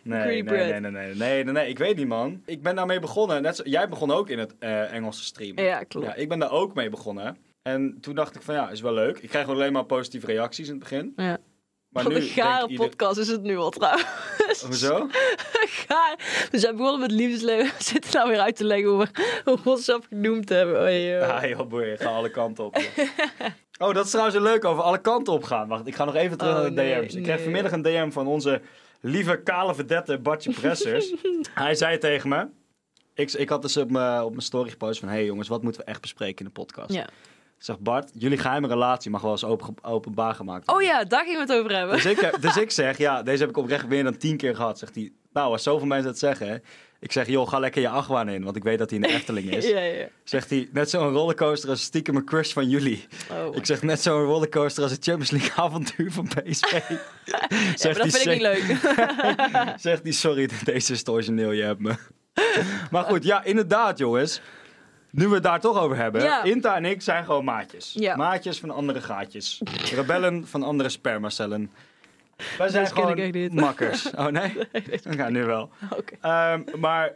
Speaker 2: Nee,
Speaker 1: Greedy
Speaker 2: nee,
Speaker 1: Brad.
Speaker 2: nee, nee, nee, nee, nee, nee, ik weet niet, man. Ik ben daarmee begonnen. Net zo- jij begon ook in het eh Engelse streamen.
Speaker 1: Ja, klopt.
Speaker 2: Ja, ik ben daar ook mee begonnen. En toen dacht ik van ja, is wel leuk. Ik krijg wel alleen maar positieve reacties in het begin.
Speaker 1: Ja.
Speaker 2: Maar
Speaker 1: Wat
Speaker 2: nu
Speaker 1: een gare
Speaker 2: denk ieder-
Speaker 1: podcast is het nu al trouwens.
Speaker 2: Hoezo?
Speaker 1: Gaar. We zijn begonnen met liefdesleven. We zitten nou weer uit te leggen hoe we, hoe we onszelf genoemd hebben. Oh, joh.
Speaker 2: Ah, joh, boy, ga alle kanten op. joh. oh, dat is trouwens een leuk over alle kanten op gaan. Wacht, ik ga nog even terug
Speaker 1: Oh,
Speaker 2: naar de
Speaker 1: nee,
Speaker 2: DM's. Ik kreeg
Speaker 1: nee.
Speaker 2: vanmiddag een DM van onze lieve kale verdette Bartje Pressers. Hij zei tegen me... Ik, ik had dus op mijn op mijn story gepost van... Hé hey jongens, wat moeten we echt bespreken in de podcast?
Speaker 1: Ja.
Speaker 2: Ik zeg, Bart, jullie geheime relatie mag wel eens open, openbaar gemaakt worden. eh,
Speaker 1: oh ja, daar Oh gingen we het over hebben.
Speaker 2: Dus ik, dus ik zeg, ja, deze heb ik oprecht meer dan tien keer gehad. Zegt hij, Nou, als zoveel mensen dat zeggen, hè. ik zeg, joh, ga lekker je achtbaan in, want ik weet dat hij in de Efteling is.
Speaker 1: Ja, ja.
Speaker 2: Zegt hij, net zo'n rollercoaster als stiekem een crush van jullie.
Speaker 1: Oh.
Speaker 2: Ik zeg, net zo'n rollercoaster als het Champions League avontuur van PSV. zegt
Speaker 1: Ja, maar dat
Speaker 2: hij,
Speaker 1: vind ik niet
Speaker 2: "Zeg-
Speaker 1: leuk.
Speaker 2: Zegt hij, sorry, deze is het origineel, je hebt me. maar goed, ja, inderdaad, jongens. Nu we het daar toch over hebben.
Speaker 1: Ja.
Speaker 2: Inta en ik zijn gewoon maatjes.
Speaker 1: Ja.
Speaker 2: Maatjes van andere gaatjes. Rebellen van andere spermacellen. Wij zijn
Speaker 1: Deze ken ik
Speaker 2: gewoon
Speaker 1: echt niet.
Speaker 2: makkers. Oh nee? Ja, nu wel.
Speaker 1: Oké.
Speaker 2: Ehm, maar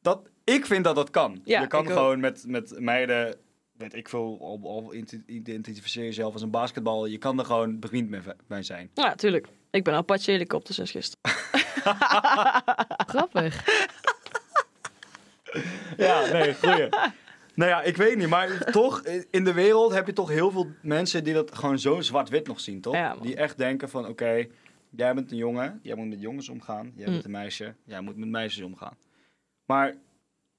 Speaker 2: dat, ik vind dat dat kan.
Speaker 1: Ja,
Speaker 2: je kan
Speaker 1: ik ook.
Speaker 2: gewoon met, met meiden, weet ik veel, al, al identi- identificeer jezelf als een basketbal. Je kan er gewoon bevriend mee- mee zijn.
Speaker 1: Ja, tuurlijk. Ik ben Apache helikopter sinds gisteren.
Speaker 3: Grappig.
Speaker 2: Ja, nee, goeie. nou ja, ik weet niet, maar toch, in de wereld heb je toch heel veel mensen die dat gewoon zo zwart-wit nog zien, toch?
Speaker 1: Ja, man.
Speaker 2: die echt denken van, oké, jij bent een jongen, jij moet met jongens omgaan, jij
Speaker 1: Mm.
Speaker 2: bent een meisje, jij moet met meisjes omgaan. Maar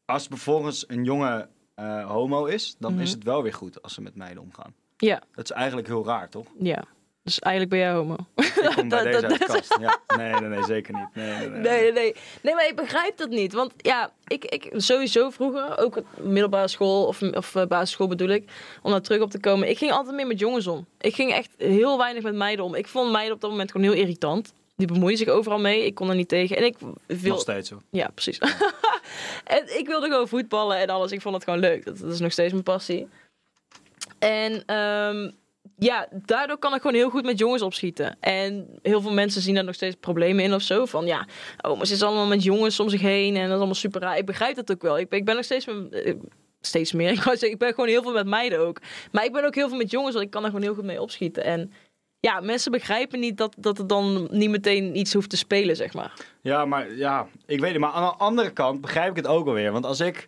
Speaker 2: als vervolgens een jongen eh, homo is, dan
Speaker 1: Mhm.
Speaker 2: is het wel weer goed als ze met meiden omgaan.
Speaker 1: Ja,
Speaker 2: Dat is eigenlijk heel raar, toch?
Speaker 1: ja. Dus eigenlijk ben jij homo.
Speaker 2: Ik kom bij
Speaker 1: Dat-
Speaker 2: deze
Speaker 1: dat-
Speaker 2: uit de kast. Ja. Nee, nee, nee, zeker niet. Nee, nee, nee.
Speaker 1: Nee, nee, nee. Nee, maar ik begrijp dat niet. Want ja, ik, ik sowieso vroeger, ook op middelbare school of, of eh, basisschool bedoel ik, om daar terug op te komen. Ik ging altijd meer met jongens om. Ik ging echt heel weinig met meiden om. Ik vond meiden op dat moment gewoon heel irritant. Die bemoeien zich overal mee. Ik kon er niet tegen. En ik
Speaker 2: Nog
Speaker 1: wil,
Speaker 2: steeds zo.
Speaker 1: Ja, precies. en ik wilde gewoon voetballen en alles. Ik vond het gewoon leuk. Dat, dat is nog steeds mijn passie. En ehm, ja, daardoor kan ik gewoon heel goed met jongens opschieten. En heel veel mensen zien daar nog steeds problemen in of zo. Van ja, oh, maar ze is allemaal met jongens om zich heen en dat is allemaal super raar. Ik begrijp dat ook wel. Ik ben, ik ben nog steeds... met- eh, Steeds meer. Ik, wou zeggen, ik ben gewoon heel veel met meiden ook. Maar ik ben ook heel veel met jongens, want ik kan er gewoon heel goed mee opschieten. En ja, mensen begrijpen niet dat, dat het dan niet meteen iets hoeft te spelen, zeg maar.
Speaker 2: Ja, maar ja, ik weet het. Maar aan de andere kant begrijp ik het ook alweer. Want als ik,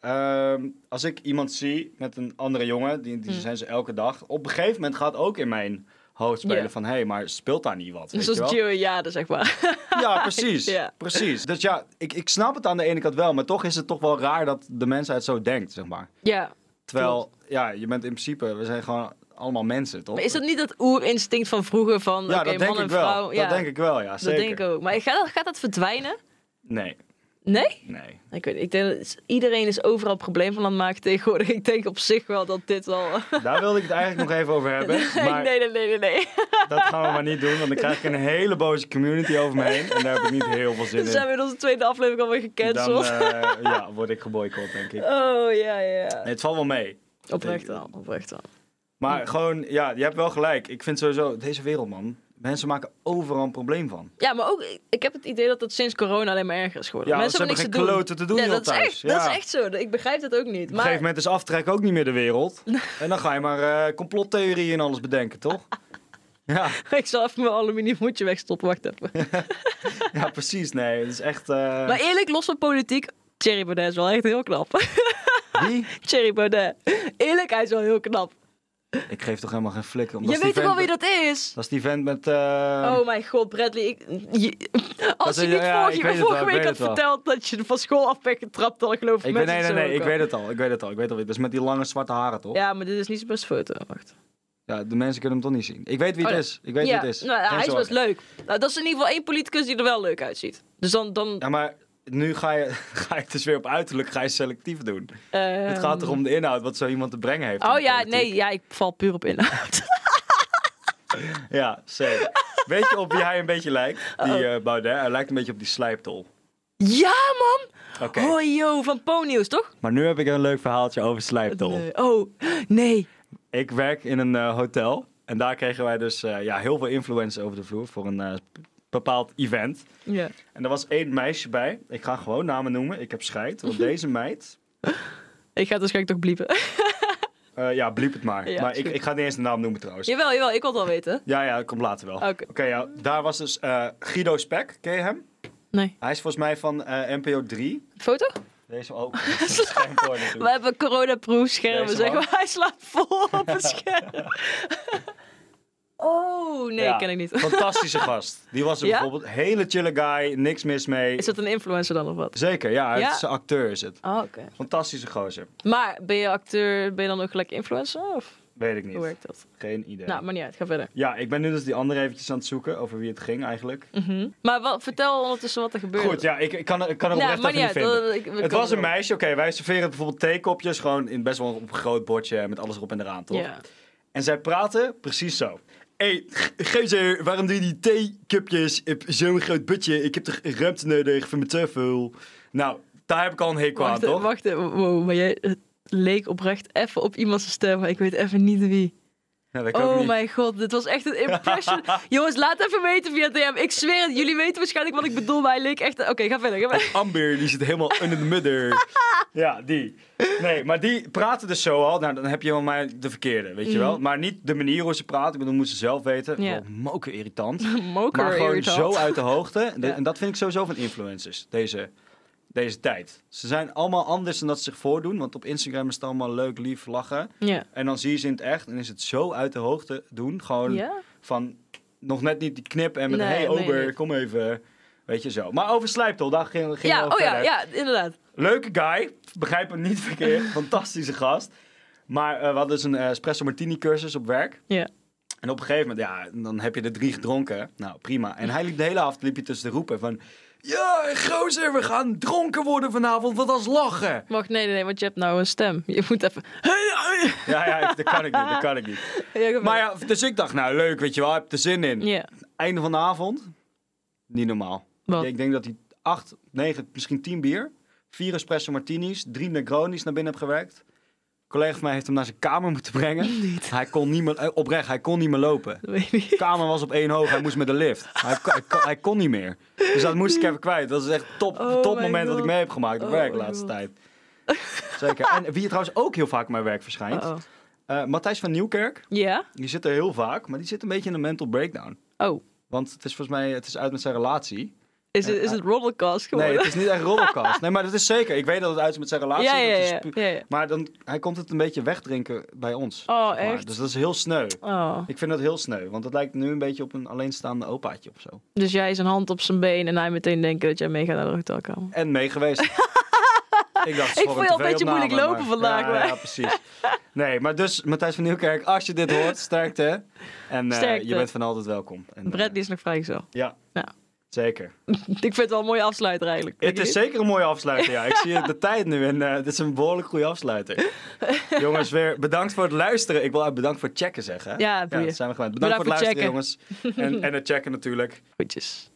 Speaker 2: ehm, als ik iemand zie met een andere jongen, die,
Speaker 1: Hm.
Speaker 2: die zijn ze elke dag. Op een gegeven moment gaat ook in mijn hoofd spelen
Speaker 1: Ja.
Speaker 2: van, hé, hey, maar speelt daar niet wat? Weet je
Speaker 1: Zoals
Speaker 2: wel?
Speaker 1: Joey Jade, zeg maar.
Speaker 2: Ja, precies.
Speaker 1: Ja.
Speaker 2: precies. Dus ja, ik, ik snap het aan de ene kant wel, maar toch is het toch wel raar dat de mensheid zo denkt, zeg maar.
Speaker 1: Ja.
Speaker 2: Terwijl, ja, je bent in principe, we zijn gewoon allemaal mensen, toch?
Speaker 1: Maar is dat niet dat oerinstinct van vroeger van oké,
Speaker 2: ja, dat denk
Speaker 1: man en
Speaker 2: ik wel.
Speaker 1: vrouw? ja,
Speaker 2: Dat denk ik wel, ja,
Speaker 1: dat
Speaker 2: zeker.
Speaker 1: denk ik ook. Maar gaat dat, gaat dat verdwijnen?
Speaker 2: Nee,
Speaker 1: Nee?
Speaker 2: nee.
Speaker 1: Ik weet niet. Ik denk dat iedereen is overal probleem van aan het maken tegenwoordig. Ik denk op zich wel dat dit al...
Speaker 2: Daar wilde ik het eigenlijk nog even over hebben. Maar
Speaker 1: Nee, nee, nee, nee, nee.
Speaker 2: Dat gaan we maar niet doen, want dan krijg ik een hele boze community over me heen. En daar heb ik niet heel veel zin
Speaker 1: Dan zijn we in onze tweede aflevering alweer
Speaker 2: in.
Speaker 1: gecanceld.
Speaker 2: eh, ja, word ik geboycott, denk ik.
Speaker 1: Oh, ja, ja.
Speaker 2: eh, Nee, het valt wel mee.
Speaker 1: Oprecht wel, oprecht wel.
Speaker 2: Maar
Speaker 1: Hm.
Speaker 2: gewoon, ja, je hebt wel gelijk. Ik vind sowieso, deze wereld, man. Mensen maken overal een probleem van.
Speaker 1: Ja, maar ook, ik- ik heb het idee dat dat sinds corona alleen maar erger is geworden.
Speaker 2: Ja,
Speaker 1: Mensen
Speaker 2: ze
Speaker 1: hebben niks
Speaker 2: hebben
Speaker 1: te
Speaker 2: geen
Speaker 1: doen.
Speaker 2: kloten te doen
Speaker 1: Ja,
Speaker 2: hier
Speaker 1: dat, is
Speaker 2: thuis.
Speaker 1: echt, dat
Speaker 2: Ja.
Speaker 1: is echt zo. Ik begrijp dat ook niet.
Speaker 2: Op een
Speaker 1: Maar
Speaker 2: gegeven moment is aftrek ook niet meer de wereld. En dan ga je maar eh, complottheorieën en alles bedenken, toch? Ja,
Speaker 1: ik zal even mijn aluminium hoedje wegstoppen. Wacht even.
Speaker 2: ja, precies. Nee, het is echt... eh,
Speaker 1: Maar eerlijk, los van politiek, Thierry Baudet is wel echt heel knap.
Speaker 2: Wie?
Speaker 1: Thierry Baudet. Eerlijk, hij is wel heel knap.
Speaker 2: Ik geef toch helemaal geen flikker. omdat
Speaker 1: je
Speaker 2: die
Speaker 1: weet toch wel
Speaker 2: vent-
Speaker 1: wie dat is?
Speaker 2: Dat is die vent met... eh,
Speaker 1: oh mijn god, Bradley. Ik, je- als
Speaker 2: Dat
Speaker 1: je
Speaker 2: is-
Speaker 1: niet
Speaker 2: ja, ik
Speaker 1: vorige,
Speaker 2: weet het
Speaker 1: vorige
Speaker 2: wel, ik
Speaker 1: week
Speaker 2: weet
Speaker 1: had
Speaker 2: het wel.
Speaker 1: verteld dat je van school af bent getrapt, dan geloof ik
Speaker 2: Ik
Speaker 1: mensen
Speaker 2: weet, nee, nee,
Speaker 1: het zo
Speaker 2: nee,
Speaker 1: ook
Speaker 2: ik
Speaker 1: wel.
Speaker 2: weet het al. Ik weet het al. Ik weet het al. Dat is met die lange zwarte haren, toch? Ja.
Speaker 1: Ja, maar dit is niet zijn beste foto. Wacht.
Speaker 2: de mensen kunnen hem toch niet zien. Ik weet wie
Speaker 1: Oh,
Speaker 2: het
Speaker 1: ja.
Speaker 2: is. Ik weet
Speaker 1: ja,
Speaker 2: wie het is.
Speaker 1: Nou,
Speaker 2: Geen
Speaker 1: hij is best
Speaker 2: zorgen.
Speaker 1: leuk. Nou, dat is in ieder geval één politicus die er wel leuk uitziet. Dus dan... dan
Speaker 2: Ja, maar nu ga je, ga je het dus weer op uiterlijk ga je selectief doen.
Speaker 1: ehm,
Speaker 2: Het gaat toch om de inhoud, wat zo iemand te brengen heeft. in
Speaker 1: Oh
Speaker 2: de
Speaker 1: ja,
Speaker 2: politiek.
Speaker 1: nee, ja, ik val puur op inhoud.
Speaker 2: Ja, zeker. Weet je op wie hij een beetje lijkt? Die
Speaker 1: Oh.
Speaker 2: eh, Baudet. Hij lijkt een beetje op die slijptol.
Speaker 1: ja, man!
Speaker 2: Oké.
Speaker 1: Hoi, yo, van Ponyus, toch?
Speaker 2: Maar nu heb ik een leuk verhaaltje over slijptol.
Speaker 1: Nee. Oh, nee.
Speaker 2: Ik werk in een eh, hotel. En daar kregen wij dus eh, ja, heel veel influencers over de vloer voor een eh, bepaald event.
Speaker 1: Ja.
Speaker 2: En er was één meisje bij. Ik ga gewoon namen noemen. Ik heb scheid. Want deze meid.
Speaker 1: Ik ga het waarschijnlijk toch bliepen.
Speaker 2: eh, ja, bliep het maar.
Speaker 1: Ja,
Speaker 2: maar
Speaker 1: is
Speaker 2: ik,
Speaker 1: goed.
Speaker 2: ik ga niet eens de naam noemen trouwens.
Speaker 1: jawel, jawel, ik wil het al weten.
Speaker 2: Ja, ja, dat komt later wel.
Speaker 1: Oké.
Speaker 2: ja, daar was dus eh, Guido Spek. Ken je hem?
Speaker 1: Nee.
Speaker 2: Hij is volgens mij van eh, NPO 3.
Speaker 1: Foto?
Speaker 2: Deze ook. Dat is geen voor natuurlijk.
Speaker 1: We hebben coronaproof schermen,
Speaker 2: Deze
Speaker 1: zeg
Speaker 2: man.
Speaker 1: maar. Hij slaat vol op een scherm. Oh, nee,
Speaker 2: Ja,
Speaker 1: ken ik niet.
Speaker 2: Fantastische gast. Die was er
Speaker 1: Ja?
Speaker 2: bijvoorbeeld. Hele chille guy. Niks mis mee.
Speaker 1: Is dat een influencer dan of wat?
Speaker 2: Zeker, ja. Hij
Speaker 1: Ja?
Speaker 2: is een acteur is het.
Speaker 1: Oh, oké.
Speaker 2: Fantastische gozer.
Speaker 1: Maar ben je acteur, ben je dan ook gelijk influencer? Of?
Speaker 2: Weet ik
Speaker 1: Hoe
Speaker 2: niet.
Speaker 1: werkt dat?
Speaker 2: Geen idee.
Speaker 1: Nou, maar niet uit. Ga verder.
Speaker 2: Ja, ik ben nu dus die andere eventjes aan het zoeken over wie het ging eigenlijk.
Speaker 1: Mhm. Maar wat, vertel ondertussen wat er gebeurde.
Speaker 2: Goed, ja, ik, ik kan, ik kan het
Speaker 1: Nou,
Speaker 2: oprecht
Speaker 1: maar
Speaker 2: even niet
Speaker 1: uit,
Speaker 2: vinden.
Speaker 1: dat- ik- we
Speaker 2: Het
Speaker 1: komen
Speaker 2: was een
Speaker 1: erop.
Speaker 2: meisje, oké, wij serveren bijvoorbeeld theekopjes gewoon in best wel een groot bordje met alles erop en eraan, toch?
Speaker 1: Ja.
Speaker 2: En zij praten precies zo. Hé, hey, gozer, waarom doe je die theekupjes op zo'n groot butje? Ik heb toch ruimte nodig voor mijn teufel? Nou, daar heb ik al een hekel aan,
Speaker 1: Wacht,
Speaker 2: toch?
Speaker 1: even, wacht, even. wow, maar jij het leek oprecht even op iemands stem, maar ik weet even niet wie.
Speaker 2: Ja, dat kan ik
Speaker 1: Oh
Speaker 2: niet.
Speaker 1: mijn god, dit was echt een impression. Jongens, laat even weten via DM. Ik zweer het, jullie weten waarschijnlijk wat ik bedoel, maar hij leek echt... Oké, ga verder, ga verder.
Speaker 2: Amber, die zit helemaal under the mudder. ja, die. Nee, maar die praten dus zo al. Nou, dan heb je wel mij de verkeerde, weet je wel. Maar niet de manier hoe ze praten. Ik bedoel, moeten ze zelf weten.
Speaker 1: Mm. Ja.
Speaker 2: Wel moken irritant.
Speaker 1: Moker
Speaker 2: maar gewoon
Speaker 1: irritant.
Speaker 2: zo uit de hoogte. De-
Speaker 1: Ja.
Speaker 2: En dat vind ik sowieso van influencers, deze, deze tijd. Ze zijn allemaal anders dan dat ze zich voordoen. Want op Instagram is het allemaal leuk, lief, lachen.
Speaker 1: Ja.
Speaker 2: En dan zie je ze in het echt en is het zo uit de hoogte doen. Gewoon
Speaker 1: Ja?
Speaker 2: van nog net niet die knip en met
Speaker 1: Nee,
Speaker 2: hey
Speaker 1: nee,
Speaker 2: ober,
Speaker 1: niet.
Speaker 2: kom even. Weet je zo. Maar over Slijptol, daar ging, ging
Speaker 1: Ja,
Speaker 2: wel
Speaker 1: oh ja,
Speaker 2: verder.
Speaker 1: ja, inderdaad.
Speaker 2: Leuke guy, begrijp hem niet verkeerd. Fantastische gast. Maar eh, we hadden dus een eh, espresso martini cursus op werk.
Speaker 1: Ja.
Speaker 2: En op een gegeven moment, ja, dan heb je er drie gedronken. Nou, prima. En hij liep de hele avond liep je tussen de roepen van... Ja, gozer, we gaan dronken worden vanavond, want dat is lachen.
Speaker 1: Wacht, nee, nee, nee, want je hebt nou een stem. Je moet even...
Speaker 2: Ja, ja, dat kan ik niet, dat kan ik niet.
Speaker 1: Ja, ga
Speaker 2: Maar ja, dus ik dacht, nou leuk, weet je wel, heb er zin in.
Speaker 1: verder. Ja,
Speaker 2: Einde van de avond, niet normaal.
Speaker 1: wat?
Speaker 2: Ik denk dat hij acht, negen, misschien tien bier, vier espresso martinis, drie negronis naar binnen heb gewerkt. Een collega van mij heeft hem naar zijn kamer moeten brengen. Hij kon niet meer, eh, oprecht, hij kon niet meer lopen.
Speaker 1: Dat weet ik niet.
Speaker 2: De kamer was op één hoog, hij moest met de lift. Hij, kon- hij, kon, hij kon niet meer. Dus dat moest ik even kwijt. Dat is echt top,
Speaker 1: Oh
Speaker 2: top
Speaker 1: my
Speaker 2: moment dat ik
Speaker 1: God.
Speaker 2: mee heb gemaakt op
Speaker 1: Oh
Speaker 2: werk de
Speaker 1: my
Speaker 2: laatste
Speaker 1: God.
Speaker 2: tijd. Zeker. En wie trouwens ook heel vaak op mijn werk verschijnt.
Speaker 1: Uh-oh.
Speaker 2: eh, Matthijs van Nieuwkerk.
Speaker 1: Oh, Ja?
Speaker 2: Die zit er heel vaak, maar die zit een beetje in een mental breakdown.
Speaker 1: Oh,
Speaker 2: Want het is volgens mij, het is uit met zijn relatie.
Speaker 1: is het, is het roddelcast geworden?
Speaker 2: Nee, het is niet echt rollercast. Nee, maar dat is zeker. Ik weet dat het uit is met zijn relatie.
Speaker 1: ja, ja,
Speaker 2: dat is
Speaker 1: ja,
Speaker 2: pu-
Speaker 1: ja, ja.
Speaker 2: Maar dan, hij komt het een beetje wegdrinken bij ons.
Speaker 1: Oh,
Speaker 2: zeg maar.
Speaker 1: echt?
Speaker 2: Dus dat is heel sneu.
Speaker 1: Oh.
Speaker 2: Ik vind dat heel sneu, want het lijkt nu een beetje op een alleenstaande opaatje of zo.
Speaker 1: Dus jij zijn hand op zijn been en hij meteen denken dat jij meegaat naar de hotelkamer.
Speaker 2: En mee geweest. ik dacht,
Speaker 1: Ik vond je al een beetje moeilijk
Speaker 2: tv-opname,
Speaker 1: lopen
Speaker 2: maar-
Speaker 1: vandaag,
Speaker 2: Ja,
Speaker 1: maar-
Speaker 2: ja, precies. Nee, maar dus Matthijs van Nieuwkerk, als je dit hoort, sterkte. En eh,
Speaker 1: Sterkte.
Speaker 2: je bent van altijd welkom. En, eh,
Speaker 1: Brett die is nog vrijgezel.
Speaker 2: ja,
Speaker 1: Ja.
Speaker 2: zeker.
Speaker 1: Ik vind het wel een mooie afsluiter eigenlijk.
Speaker 2: Het is zeker een mooie afsluiter, ja. Ik zie de tijd nu en eh, dit is een behoorlijk goede afsluiter. jongens, weer bedankt voor het luisteren. Ik wil eigenlijk bedankt voor het checken zeggen.
Speaker 1: Ja, boeien.
Speaker 2: dat zijn we gewend. Bedankt,
Speaker 1: Bedankt
Speaker 2: voor het
Speaker 1: voor
Speaker 2: luisteren, jongens. En, en het checken natuurlijk.
Speaker 1: Goedjes.